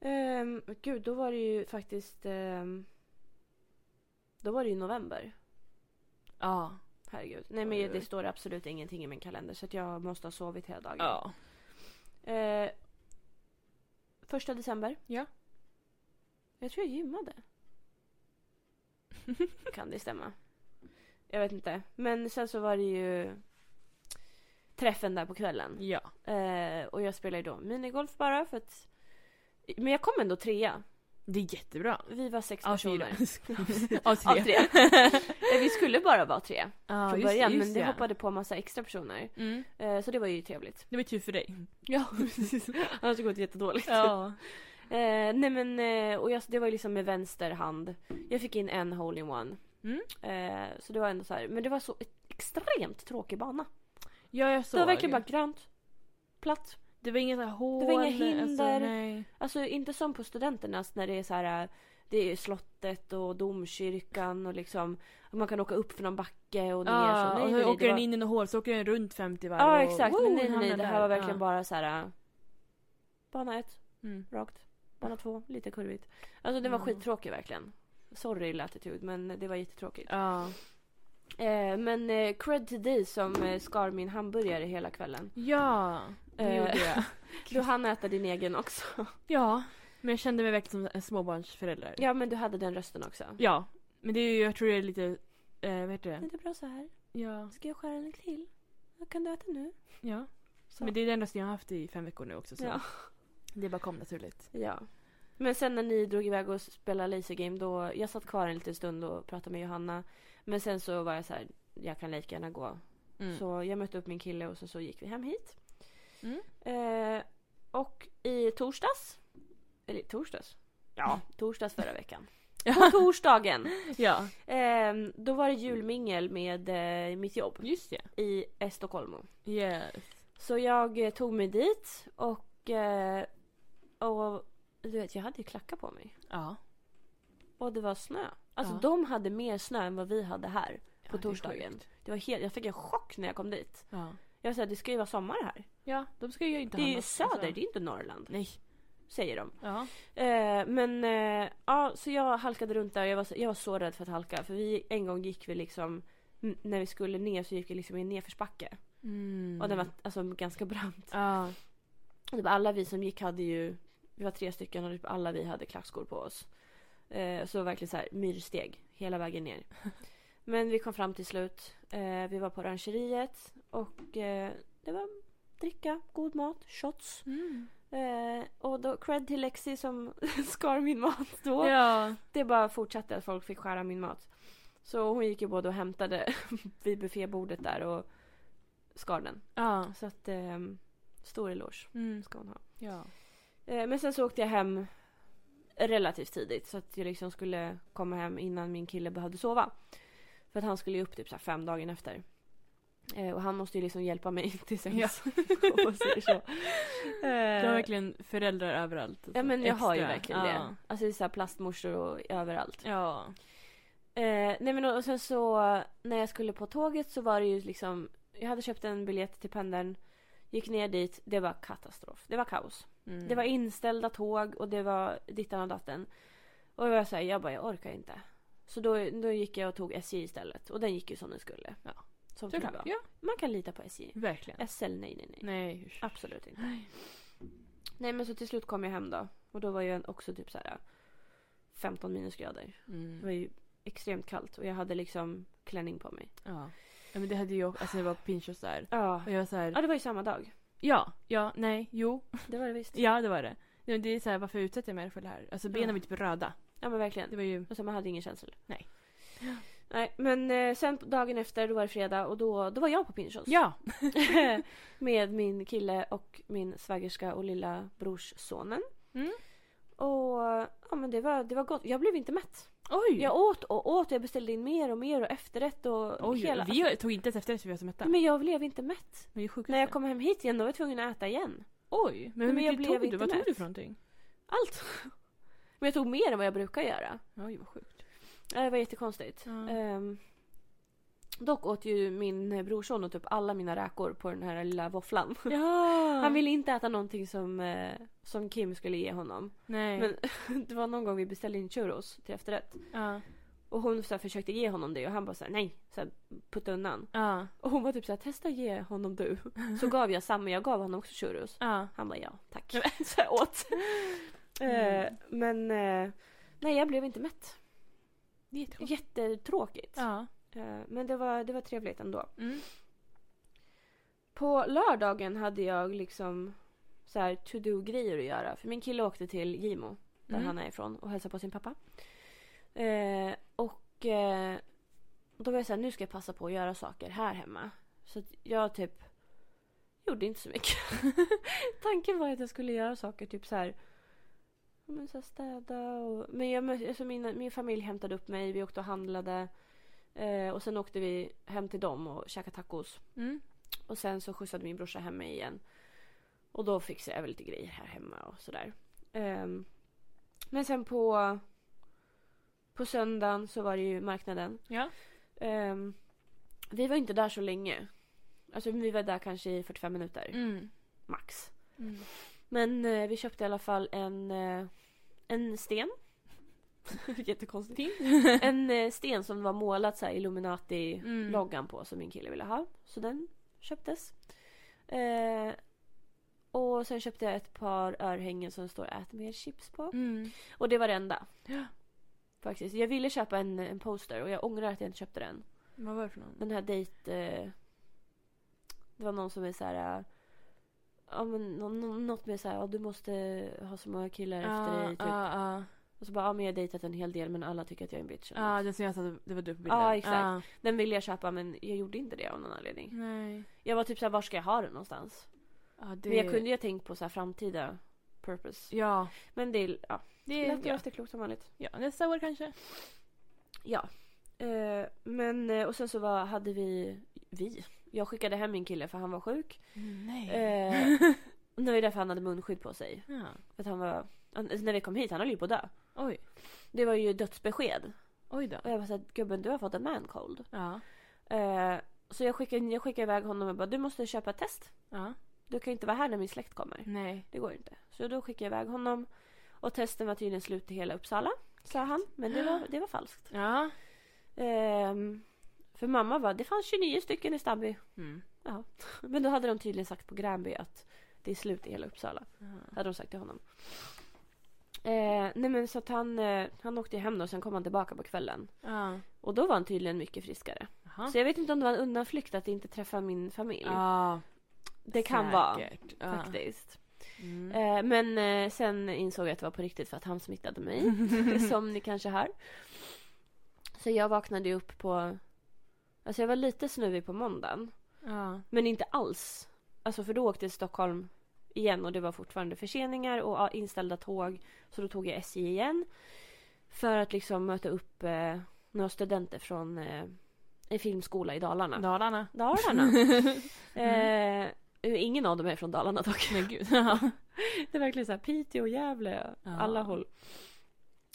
B: Ehm, gud, då var det ju faktiskt... ehm, då var det ju november.
A: Ja.
B: Herregud. Nej
A: Oj,
B: men
A: oj.
B: det står absolut ingenting i min kalender så att jag måste ha sovit hela dagen.
A: Ja.
B: Eh, första december.
A: Ja.
B: Jag tror jag gymmade. kan det stämma? Jag vet inte. Men sen så var det ju träffen där på kvällen.
A: Ja.
B: Eh, och jag spelade ju då minigolf bara för att... Men jag kom ändå trea.
A: Det är jättebra.
B: Vi var sex
A: Ja, fyra.
B: personer.
A: Ja,
B: Ja,
A: tre.
B: tre. Eh, vi skulle bara vara tre
A: Ja,
B: från
A: just
B: början
A: just
B: men det
A: ja.
B: hoppade på massa extra personer.
A: Mm.
B: Eh, så det var ju trevligt.
A: Det var tur för dig.
B: Ja, precis. Annars hade det gått jättedåligt.
A: Ja.
B: Eh, nej men, eh, och jag, det var ju liksom med vänster hand. Jag fick in en hole-in-one.
A: Mm.
B: Eh, så det var ändå så här, men det var så ett extremt tråkig bana.
A: Ja, jag såg.
B: det var verkligen bara grönt, platt.
A: Det var inga så här hål.
B: inga
A: Alltså,
B: hinder.
A: nej.
B: Alltså inte som på studenternas när det är så här, eh, det är slottet och domkyrkan och liksom man kan åka upp för någon backe och ner.
A: Ja,
B: så, nej,
A: Ah, och så
B: nej, nej,
A: åker
B: det
A: den
B: var-
A: in i något hål så åker den runt 50 varv.
B: Ja
A: och-
B: exakt,
A: Wow,
B: men nej
A: den
B: nej nej
A: hamnar
B: det här
A: där. Ah.
B: var verkligen
A: ja.
B: bara så här. äh, Bana ett,
A: Mm.
B: rakt. Bana två, lite kurvigt. Alltså det var
A: Ja.
B: skittråkigt verkligen. Sorry latitud men det var jättetråkigt.
A: Ja.
B: Eh, men eh, cred till dig som eh, skar min hamburgare hela kvällen.
A: Ja, det
B: Eh,
A: gjorde jag.
B: Du hann äta din egen också.
A: Ja, men jag kände mig verkligen som en småbarnsförälder.
B: ja men du hade den rösten också.
A: Ja, men det är ju, jag tror det är lite, eh, vad heter
B: Är
A: det?
B: det bra så här?
A: Ja.
B: Ska jag skära den till? Vad Kan du äta nu?
A: ja.
B: Så.
A: Men det är den rösten jag har haft i fem veckor nu också så
B: Ja.
A: det bara kom naturligt.
B: ja. Men sen när ni drog iväg och spelade laser game då, jag satt kvar en liten stund och pratade med Johanna. Men sen så var jag så här, jag kan lika gärna gå
A: Mm.
B: Så jag mötte upp min kille och så, så gick vi hem hit.
A: Mm.
B: Eh, och i torsdags, eller torsdags? Ja, torsdags förra veckan. På torsdagen!
A: Ja,
B: Eh, då var det julmingel med eh, mitt jobb
A: just det.
B: i Estocolmo.
A: Yes.
B: Så jag eh, tog mig dit och, eh, och du vet jag hade ju klackar på mig.
A: Ja.
B: Och det var snö. Alltså
A: Ja.
B: de hade mer snö än vad vi hade här.
A: ja
B: På
A: det är
B: torsdagen.
A: sjukt.
B: Det var helt, jag fick en chock när jag kom dit.
A: Ja.
B: Jag sa det ska ju vara sommar här.
A: ja, de ska ju inte
B: Det
A: ha
B: är ju
A: något,
B: söder,
A: alltså.
B: det är inte Norrland.
A: Nej.
B: Säger de.
A: Ja.
B: Eh, men eh, ja, så jag halkade runt där och jag var, så- jag var så rädd för att halka. För vi, en gång gick vi liksom, n- när vi skulle ner så gick vi liksom i en nedförsbacke.
A: Mm.
B: Och den var alltså ganska brant.
A: Ja.
B: Och Typ alla vi som gick hade ju, vi var tre stycken och typ alla vi hade klackskor på oss. Eh, så verkligen så här myrsteg hela vägen ner. Men vi kom fram till slut. Eh, vi var på orangeriet och eh, det var dricka, god mat, shots.
A: Mm.
B: Eh, och då cred till Lexi som skar min mat då.
A: Ja.
B: Det bara fortsatte att folk fick skära min mat. Så hon gick ju både och hämtade vid buffébordet där och skar den.
A: Ja.
B: Så att eh, stor eloge
A: Mm.
B: ska hon ha.
A: ja.
B: Eh, men sen så åkte jag hem relativt tidigt så att jag liksom skulle komma hem innan min kille behövde sova. För att han skulle ju upp typ så här fem dagen efter. Eh, och han måste ju liksom hjälpa mig till sängs. om man säger så.
A: Du har
B: Eh,
A: verkligen föräldrar överallt. alltså.
B: Ja men jag har ju
A: Extra.
B: verkligen
A: ja.
B: det. Alltså det är så här plastmorsor och överallt.
A: Ja.
B: Eh, nej men och och sen så när jag skulle på tåget så var det ju liksom. Jag hade köpt en biljett till pendeln. Gick ner dit. Det var katastrof. Det var kaos.
A: Mm.
B: Det var inställda tåg och det var dittan och datten. Och jag var så här, jag bara jag orkar inte. Så då, då gick jag och tog SJ istället. Och den gick ju som den skulle. Ja. Som tur
A: Såklart.
B: var.
A: Ja,
B: Man kan lita på SJ.
A: verkligen.
B: SL nej nej nej.
A: Nej, usch.
B: Absolut inte.
A: Nej.
B: Nej men så till slut kom jag hem då. Och då var ju en- också typ så här 15 minusgrader. Det var
A: Mm.
B: ju extremt kallt och jag hade liksom klänning på mig.
A: Ja. ja. men det hade ju också, alltså det var Pinchos där.
B: Ja.
A: Och jag var såhär,
B: Ja det var ju samma dag.
A: ja, ja, nej, jo,
B: Det var det visst.
A: ja det var det. Nej, men Det är såhär, varför utsätter jag mig för det här? Alltså benen
B: Ja.
A: var typ röda.
B: Ja men verkligen.
A: Det var ju,
B: Och sen Alltså, man hade ingen känsel.
A: Nej.
B: Nej men eh, sen dagen efter då var det fredag och då, då var jag på Pinchos.
A: ja.
B: Med min kille och min svägerska och lilla brorssonen.
A: Mm.
B: Och ja men det var, det var gott. Jag blev inte mätt.
A: Oj!
B: Jag åt och åt och jag beställde in mer och mer och efterrätt och
A: Oj,
B: hela.
A: vi tog inte ens efter det så vi var så mätta.
B: Nej, Men jag blev inte mätt.
A: Men det sjukaste.
B: När jag kom hem hit igen då var jag tvungen att äta igen.
A: Oj, men hur
B: Men jag
A: mycket
B: blev
A: tog du?
B: inte
A: Vad tog
B: mätt.
A: du för någonting?
B: Allt. Men jag tog mer än vad jag brukar göra.
A: Oj, vad sjukt.
B: Ja, Det var jättekonstigt.
A: Ja.
B: Ehm, dock åt ju min brorson och typ alla mina räkor på den här lilla våfflan.
A: Ja!
B: Han ville inte äta någonting som, eh, som Kim skulle ge honom.
A: Nej.
B: Men det var någon gång vi beställde in churros till efterrätt.
A: Ja.
B: Och hon så här, försökte ge honom det och han bara såhär nej. Så här, putta undan.
A: Ja.
B: Och hon var typ såhär testa ge honom du. Så gav jag samma, jag gav honom också churros.
A: Ja.
B: Han bara ja, tack. så jag åt.
A: Mm.
B: Eh, men eh, nej, jag blev inte mätt.
A: Det är jättekonstigt.
B: Jättetråkigt.
A: Ja.
B: Eh, men det var, det var trevligt ändå.
A: Mm.
B: På lördagen hade jag liksom så här to-do-grejer att göra. För min kille åkte till Gimo, där
A: Mm.
B: han är ifrån, och hälsade på sin pappa. Eh, och eh, då var jag så här, nu ska jag passa på att göra saker här hemma. Så att jag typ gjorde inte så mycket. Tanken var att jag skulle göra saker, typ så här, ja, men så här städa och... Men jag, mö- alltså min, min familj hämtade upp mig, vi åkte och handlade. Eh, och sen åkte vi hem till dem och käkade tacos.
A: Mm.
B: Och sen så skjutsade min brorsa hem mig igen. Och då fixade jag väl lite grejer här hemma och sådär. Ehm, men sen på, på söndagen så var det ju marknaden.
A: Ja.
B: Ehm, vi var inte där så länge. Alltså vi var där kanske i 45 minuter
A: Mm.
B: max. Men eh, vi köpte i alla fall en, eh, en sten. Jättekonstigt.
A: Fin.
B: En eh, sten som var målad så här Illuminati
A: Mm.
B: loggan på som min kille ville ha. Så den köptes. Eh, och sen köpte jag ett par örhängen som står ät mer chips på.
A: Mm.
B: Och det var det enda.
A: Ja.
B: Faktiskt. Jag ville köpa en, en poster och jag ångrar att jag inte köpte den.
A: Vad var det för någon?
B: Den här dejt... Eh, det var någon som är så här... eh, Ja men nå- nå- något med så här, ja, du måste ha så många killar efter dig typ.
A: Ja, ja.
B: Och så bara, ja men jag har dejtat en hel del men alla tycker att jag är en bitch. eller
A: Ja,
B: något.
A: den som jag sa att det var du på bilden.
B: Ja, exakt.
A: Ja.
B: Den ville jag köpa men jag gjorde inte det av någon anledning.
A: Nej.
B: Jag var typ såhär, var ska jag ha den någonstans?
A: Ja, det...
B: Men jag kunde ju ha tänkt på så här framtida purpose.
A: Ja.
B: Men det är ja,
A: Det
B: lätt och
A: ja.
B: efterklokt som vanligt.
A: ja. Nästa år kanske.
B: Ja. Eh, men eh, och sen så var, hade vi, vi. Jag skickade hem min kille för han var sjuk.
A: Nej.
B: Eh, och det var ju därför han hade munskydd på sig.
A: Ja.
B: För att han var, han, när vi kom hit, han höll ju på att dö.
A: Oj.
B: Det var ju dödsbesked.
A: Oj då.
B: Och jag var såhär, gubben du har fått en man cold.
A: Ja.
B: Eh, så jag skickade, jag skickade iväg honom och bara, du måste köpa ett test.
A: Ja.
B: Du kan ju inte vara här när min släkt kommer.
A: Nej.
B: Det går inte. Så då skickade jag iväg honom. Och testen var tydligen slut i hela Uppsala. Sa han. Men det var, det var falskt.
A: Ja.
B: Ehm, för mamma var det fanns 29 stycken i Stabby.
A: Mm.
B: Ja. Men då hade de tydligen sagt på Gränby att det är slut i hela Uppsala.
A: Ja.
B: Hade de sagt till honom. Eh, nej men så att han, eh, han åkte hem då och sen kom han tillbaka på kvällen.
A: Ja.
B: Och då var han tydligen mycket friskare.
A: Jaha.
B: Så jag vet inte om det var en undanflykt att inte träffa min familj.
A: Ja.
B: det kan vara
A: säkert. Ja.
B: faktiskt.
A: Mm.
B: Eh, men eh, sen insåg jag att det var på riktigt för att han smittade mig. som ni kanske hör. Så jag vaknade ju upp på... Alltså jag var lite snuvig på måndagen.
A: Ja.
B: Men inte alls. Alltså för då åkte jag till Stockholm igen och det var fortfarande förseningar och ja, inställda tåg. Så då tog jag SJ igen. För att liksom möta upp eh, några studenter från eh, en filmskola i Dalarna.
A: Dalarna.
B: Dalarna. eh, ingen av dem är från Dalarna dock.
A: Men gud.
B: Det är verkligen så här Piteå, Gävle,
A: Ja.
B: alla håll.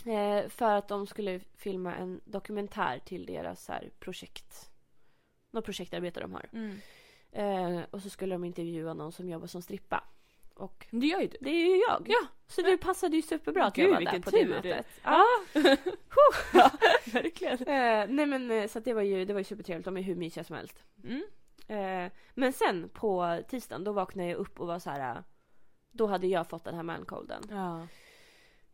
B: Eh, för att de skulle filma en dokumentär till deras så här, projekt. Något projektarbete de har.
A: Mm.
B: Eh, och så skulle de intervjua någon som jobbar som strippa. Och
A: Men Det gör ju du.
B: det är ju jag.
A: Ja.
B: Så det passade ju superbra att
A: Gud,
B: jag var där
A: vilken
B: på det
A: tur.
B: mötet. Ja. ja, verkligen. Eh, nej men eh, så att det var ju, det var ju supertrevligt. De är hur mysiga som helst.
A: Mm.
B: Eh, men sen på tisdagen då vaknade jag upp och var så här. eh, Då hade jag fått den här mancolden.
A: Ja.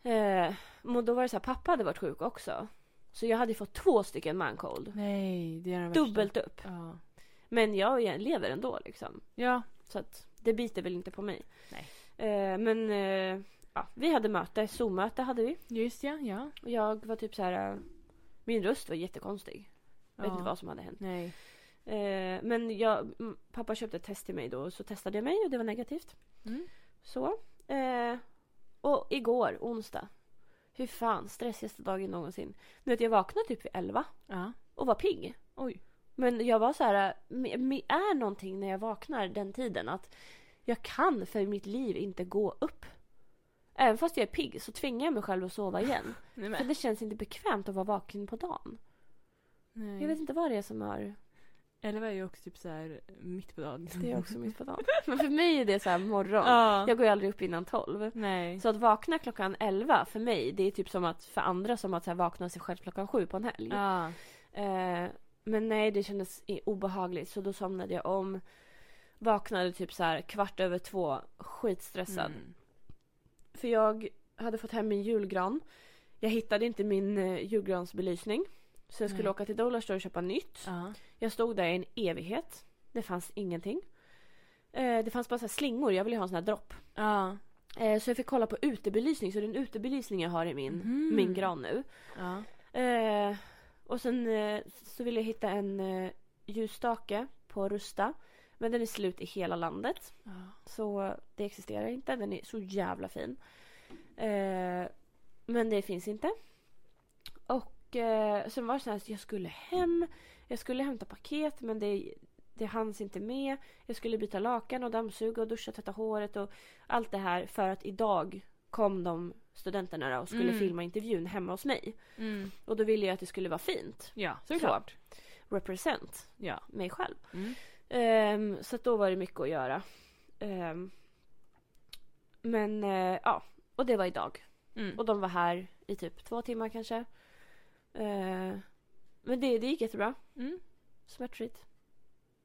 B: Eh, men då var det så här, pappa hade varit sjuk också. Så jag hade ju fått två stycken mancold.
A: Nej, det är den värsta.
B: Dubbelt upp.
A: Ja.
B: Men jag lever ändå liksom.
A: Ja.
B: Så att det biter väl inte på mig.
A: Nej.
B: Eh, men eh, ja, vi hade möte, Zoom-möte hade vi.
A: Just ja, ja.
B: Och jag var typ så här. eh, Min röst var jättekonstig. Jag vet
A: Ja.
B: inte vad som hade hänt.
A: Nej.
B: Eh, men jag, m- pappa köpte ett test till mig då så testade jag mig och det var negativt.
A: Mm.
B: Så. Eh, och igår, onsdag. Hur fan, stressigaste dagen någonsin. Nu vet jag vaknade typ vid 11
A: Ja.
B: och var pigg.
A: Oj.
B: Men jag var så här, me- me- är någonting när jag vaknar den tiden att jag kan för mitt liv inte gå upp. Även fast jag är pigg så tvingar jag mig själv att sova igen.
A: Nej,
B: För det känns inte bekvämt att vara vaken på dagen.
A: Nej.
B: Jag vet inte vad det är som har...
A: Eller var jag också typ så här mitt på dagen.
B: Det är också mitt på dagen. Men för mig är det så här morgon.
A: Ja.
B: Jag går ju aldrig upp innan tolv.
A: Nej.
B: Så att vakna klockan elva för mig, det är typ som att för andra som att så här vakna sig själv klockan sju på en helg.
A: Ja.
B: Eh, men nej, det kändes i- obehagligt så då somnade jag om. Vaknade typ så här kvart över två, skitstressad.
A: Mm.
B: För jag hade fått hem min julgran. Jag hittade inte min eh, julgransbelysning. Så jag skulle
A: Nej.
B: åka till Dollarstore och köpa nytt.
A: Ja.
B: Jag stod där i en evighet. Det fanns ingenting. Eh, det fanns bara så här slingor, jag ville ju ha en sån här dropp.
A: Ja.
B: Eh, så jag fick kolla på utebelysning, så det är en utebelysning jag har i min,
A: Mhm.
B: min gran nu.
A: Ja.
B: Eh, och sen eh, så ville jag hitta en eh, ljusstake på Rusta. Men den är slut i hela landet.
A: Ja.
B: Så det existerar inte. Den är så jävla fin. Eh, men det finns inte. Och eh, sen var det så här att jag skulle hem. Jag skulle hämta paket men det, det hanns inte med. Jag skulle byta lakan och dammsuga och duscha, tvätta håret och allt det här. För att idag kom de studenterna då och skulle
A: Mm.
B: filma intervjun hemma hos mig.
A: Mm.
B: Och då ville jag att det skulle vara fint.
A: Ja, såklart.
B: Represent
A: Ja.
B: mig själv.
A: Mm.
B: Ehm, så att då var det mycket att göra. Ehm, men eh, ja, och det var idag.
A: Mm.
B: Och de var här i typ två timmar kanske. Ehm, men det, det gick jättebra.
A: Mm.
B: Smärtfritt.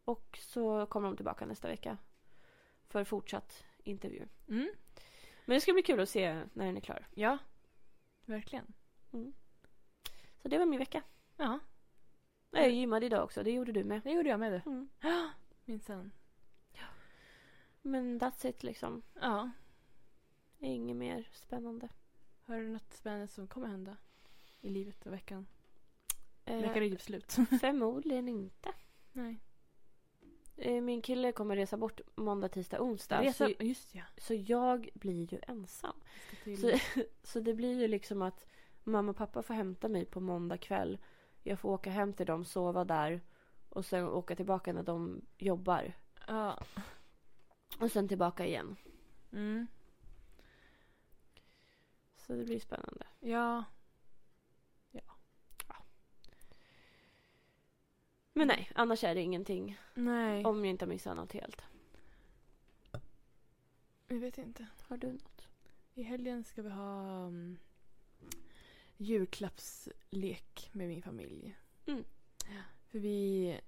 B: Och så kommer de tillbaka nästa vecka. För fortsatt intervju.
A: Mm.
B: Men det ska bli kul att se när den är klar.
A: Ja. Verkligen.
B: Så det var min vecka.
A: Ja.
B: Jag
A: Mm.
B: gymmade idag också, det gjorde du med.
A: Det gjorde jag med det.
B: Mm.
A: Minsann.
B: Men that's it liksom.
A: Ja.
B: Inget mer spännande.
A: Har du något spännande som kommer hända i livet och veckan? Veckan är
B: Eh,
A: ju typ slut.
B: förmodligen inte.
A: Nej.
B: Eh, Min kille kommer resa bort måndag, tisdag, onsdag.
A: Resa,
B: Så,
A: just ja.
B: så jag blir ju ensam.
A: Jag ska till-
B: Så, så det blir ju liksom att mamma och pappa får hämta mig på måndag kväll. Jag får åka hem till dem, sova där och sen åka tillbaka när de jobbar.
A: Ja.
B: Och sen tillbaka igen.
A: Mm.
B: Så det blir spännande.
A: Ja.
B: Men nej, annars är det ingenting.
A: Nej.
B: Om jag inte har missat något helt.
A: Jag vet inte.
B: Har du något?
A: I helgen ska vi ha um, julklappslek med min familj.
B: Mm.
A: Ja, För vi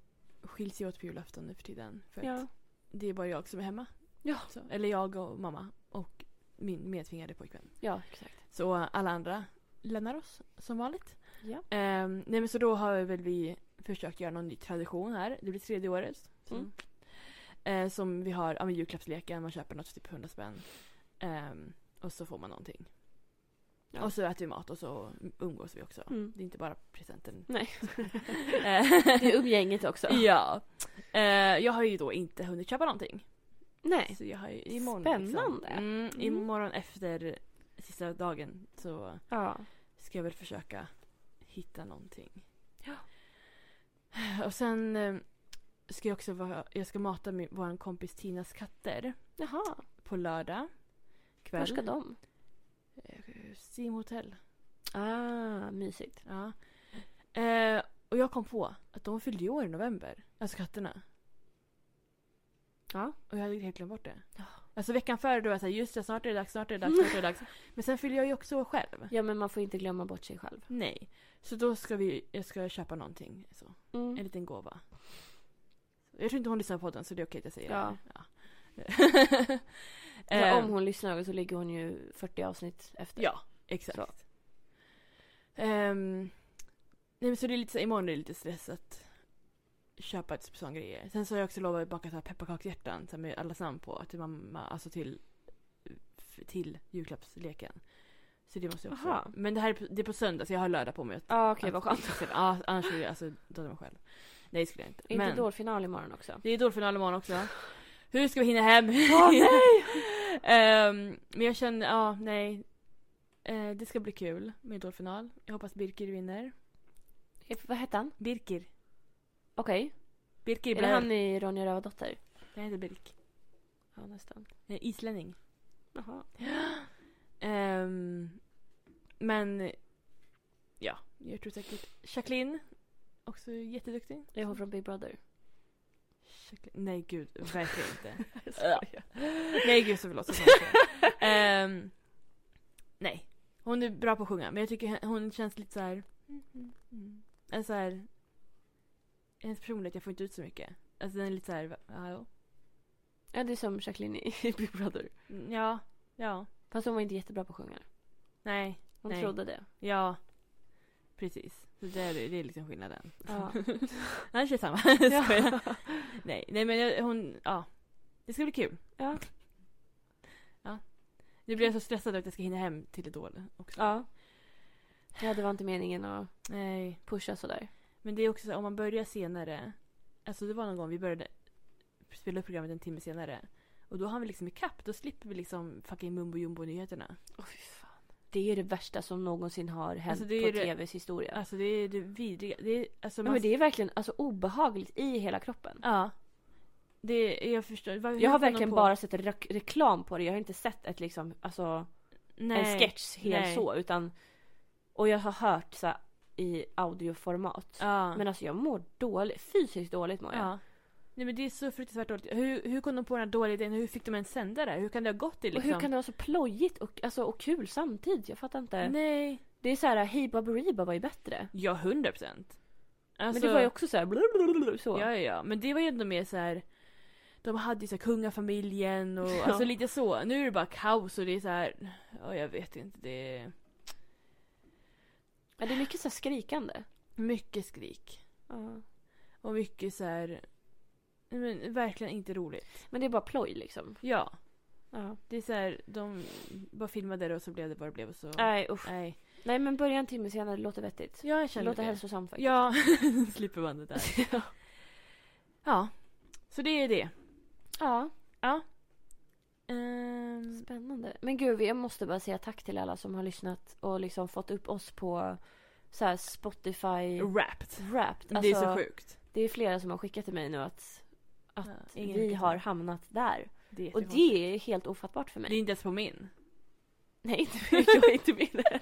A: skiljs ju åt på julafton nu för tiden. För att det är bara jag som är hemma.
B: Ja.
A: Så, eller jag och mamma och min medtvingade pojkvän.
B: Ja, exakt.
A: Så alla andra lämnar oss som vanligt.
B: Ja.
A: Ehm, nej men så då har väl vi försökt göra någon ny tradition här. Det blir tredje året. Så. Ehm,
B: Mm.
A: Eh, som vi har, ja men julklappsleken, man köper något för typ 100 spänn. Ehm, och så får man någonting.
B: Ja.
A: Och så äter vi mat och så umgås vi också.
B: Mm.
A: Det är inte bara presenten.
B: Nej.
A: Eh,
B: Det är umgänget också.
A: ja. Eh, jag har ju då inte hunnit köpa någonting.
B: Nej.
A: Så jag har ju imorgon
B: Spännande.
A: Liksom. Mm,
B: Mm.
A: imorgon efter sista dagen så
B: Ja.
A: ska jag väl försöka hitta någonting.
B: Ja.
A: Och sen eh, ska jag också vara, jag ska mata min, vår kompis Tinas katter
B: Jaha.
A: på lördag kväll.
B: Var ska de?
A: Eh, Simhotell.
B: Ah, mysigt.
A: Ja. Eh, och jag kom på att de fyllde ju år i november. Alltså katterna.
B: Ja.
A: Och jag hade helt glömt bort det.
B: Ja.
A: Alltså veckan före då var jag såhär, just det, snart är det dags, snart är det dags, snart är det dags. Men sen fyller jag ju också år själv.
B: Ja, men man får inte glömma bort sig själv.
A: Nej. Så då ska vi, jag ska köpa någonting. Så. En
B: Mm.
A: liten gåva. Jag tror inte hon lyssnar på podden så det är okej att jag säger
B: Ja.
A: det. Ja.
B: Ja,
A: Eh,
B: om hon lyssnar så ligger hon ju 40 avsnitt efter.
A: Ja, exakt.
B: Så.
A: Ehm, nej men så det är lite så, imorgon är det lite stress att köpa ett sån grejer. Sen så har jag också lovat att baka så här pepparkakshjärtan så här med allas namn på till mamma, alltså till, f- till julklappsleken. Så det måste jag också.
B: Aha.
A: Men det här är på, det är på söndag så jag har lördag på mig att...
B: Ja, okej, vad
A: att-
B: skönt.
A: Ja, annars är det alltså döda mig själv. Nej det skulle jag inte.
B: Är inte idolfinal imorgon också?
A: Det är idolfinal imorgon också. Hur ska vi hinna hem? Ehm, men jag känner, ja nej. Eh, det ska bli kul med idolfinal. Jag hoppas Birker vinner.
B: Vad hette han?
A: Birker.
B: Okej.
A: Birker
B: Är det
A: Blair.
B: han i Ronja Rövardotter?
A: Jag heter Birk.
B: Ja, nästan.
A: Jag är islänning.
B: Jaha.
A: Ehm, men ja, jag tror säkert Jacqueline. Också jätteduktig.
B: Är hon från Big Brother?
A: Jacqueline. Nej gud, verkligen inte. nej gud så förlåt. Så um, nej. Hon är bra på att sjunga men jag tycker hon- hon känns lite så här. En så här. Hennes personlighet, jag får inte ut så mycket. Alltså den är lite så här. Hallå?
B: Ja, det är som Jacqueline i Big Brother.
A: Mm, Ja, ja,
B: Fast hon var inte jättebra på att sjunga.
A: nej,
B: Hon
A: Nej.
B: trodde det.
A: ja. Precis. Så det är, det är liksom skillnaden.
B: Ja.
A: Annars är det samma. Skojar. nej, nej men jag, hon, ja. Det ska bli kul.
B: Ja.
A: ja. Nu blir jag så stressad över att jag ska hinna hem till Idol också.
B: ja. Ja, det var inte meningen att
A: Nej.
B: pusha sådär.
A: Men det är också så här, om man börjar senare. Alltså det var någon gång vi började spela upp programmet en timme senare. Och då har vi liksom ikapp. Då slipper vi liksom fucking mumbo jumbo nyheterna.
B: Åh, fy fan. Det är det värsta som någonsin har hänt
A: Alltså, det är
B: på
A: det-
B: tvs historia.
A: Alltså det är det vidriga. Det är, alltså
B: ja,
A: man-
B: men det är verkligen alltså, obehagligt i hela kroppen.
A: Ja. Det är, jag förstår. Vad- hur
B: Jag har
A: kom de
B: verkligen
A: på-
B: bara sett re- reklam på det. Jag har inte sett ett, liksom, alltså,
A: Nej.
B: en sketch helt
A: Nej.
B: så. Utan, och jag har hört så här, i audioformat.
A: Ja.
B: Men alltså jag mår dåligt. Fysiskt dåligt mår jag.
A: ja. Nej men det är så fruktansvärt dåligt. Hur, hur kom de på den här dåliga idén? Hur fick de ens sända det? Hur kan det ha gått till liksom?
B: Och hur kan det vara så plojigt och, alltså, och kul samtidigt? Jag fattar inte.
A: Nej.
B: Det är så här, Hey Baberiba var ju bättre.
A: Ja, hundra procent. Alltså...
B: Men det var ju också så här, blablabla, så.
A: Ja, ja, ja. Men det var ju ändå mer så här. De hade ju så här kungafamiljen och
B: Ja.
A: alltså lite så. Nu är det bara kaos och det är så här. Ja, jag vet inte. Det är
B: Ja, det är mycket så här skrikande.
A: mycket skrik.
B: Ja.
A: Och mycket så här. nej, Men verkligen inte roligt.
B: Men det är bara ploj liksom.
A: Ja,
B: Ja.
A: det är så här. De bara filmade det och så blev det vad det blev och så.
B: Nej usch.
A: Nej.
B: Nej men börja en timme senare, det låter vettigt.
A: Ja, jag
B: Det
A: känner
B: låter
A: det.
B: hälsosamt faktiskt.
A: Ja, slipper man det där.
B: ja.
A: Ja, så det är det.
B: ja.
A: Ehm,
B: Spännande. Men gud, jag måste bara säga tack till alla som har lyssnat och liksom fått upp oss på så här Spotify
A: Wrapped.
B: Wrapped.
A: det är
B: Alltså,
A: så sjukt.
B: Det är flera som har skickat till mig nu att, att
A: Ja, ingen
B: vi
A: lyckas.
B: har hamnat där.
A: Det är
B: Och
A: jättekonstigt.
B: det är helt ofattbart för mig.
A: det är inte ens på min.
B: Nej, inte, jag är inte med där.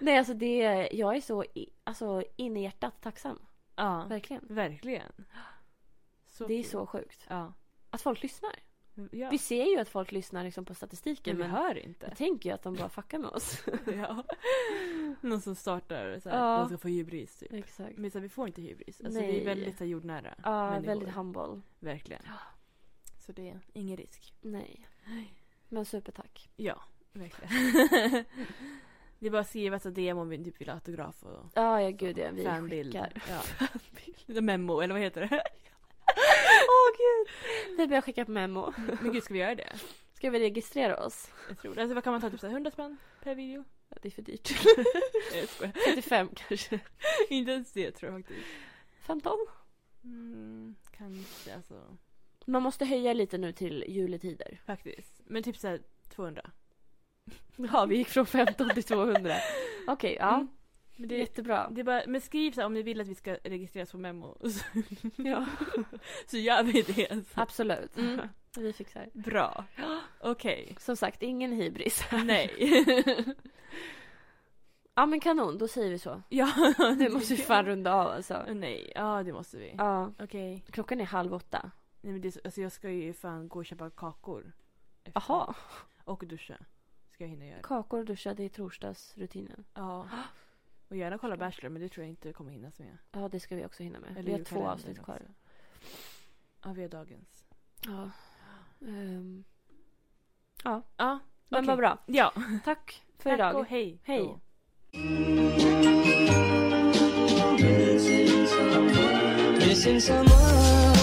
B: Nej, alltså det, jag är så i, alltså, in i hjärtat tacksam.
A: Ja.
B: Verkligen.
A: Verkligen. Så
B: Det är
A: kul.
B: så sjukt.
A: Ja.
B: Att folk lyssnar.
A: ja.
B: Vi ser ju att folk lyssnar liksom på statistiken
A: men vi
B: men,
A: hör
B: jag
A: inte.
B: tänker ju att de bara fuckar med oss.
A: ja. Någon som startar så här,
B: Ja.
A: de ska få hybris typ.
B: Exakt.
A: Men så här, vi får inte hybris. Alltså,
B: Nej.
A: Vi är väldigt så här, jordnära.
B: Ja,
A: människor.
B: väldigt humble.
A: Verkligen.
B: Ja.
A: Så det är ingen risk.
B: Nej. Men supertack.
A: Ja, verkligen. det är bara att skriva så DM om vi typ vill ha autograf och
B: Ja, ja gud ja. Vi
A: fanbild.
B: skickar.
A: Ja. Lite Memo, eller vad heter det?
B: Åh gud! Vi börjar skicka på memo.
A: Men gud, ska vi göra det?
B: Ska vi registrera oss?
A: Jag tror det. Alltså, vad kan man ta? Typ så här 100 spänn per video?
B: Ja, Det är för dyrt.
A: Nej, Jag skojar.
B: 35 kanske.
A: Inte ens det tror jag faktiskt.
B: 15?
A: Mm, kanske alltså.
B: Man måste höja lite nu till juletider.
A: Faktiskt. Men typ såhär 200.
B: Ja, vi gick från 15 till 200. Okej, ja.
A: Mm. Men det,
B: Jättebra.
A: det är bara, men skriv så här, om ni vill att vi ska registreras på memo. Så,
B: Ja.
A: så gör vi det. Alltså.
B: Absolut.
A: Mm.
B: Vi fixar.
A: Bra. Okej.
B: Som sagt, ingen hybris.
A: Nej.
B: Ja men kanon, då säger vi så.
A: ja,
B: Nu måste vi fan runda av alltså.
A: Nej, ja det måste vi.
B: Ja.
A: Okej.
B: Klockan är halv åtta.
A: Nej men det, är så- alltså jag ska ju fan gå och köpa kakor. efter.
B: Jaha.
A: Och duscha. Ska jag hinna göra.
B: Kakor och duscha, det är torsdagsrutinen.
A: Ja. Och gärna kolla Bachelor men det tror jag inte kommer hinnas med.
B: Ja, det ska vi också hinna med.
A: Eller
B: vi har två
A: julkalendern
B: avsnitt kvar.
A: också. Ja vi har dagens.
B: Ja. Ehm,
A: Ja.
B: men
A: okej.
B: vad bra.
A: Ja.
B: Tack för idag.
A: och hej.
B: Hej.
A: då.
C: Missing someone.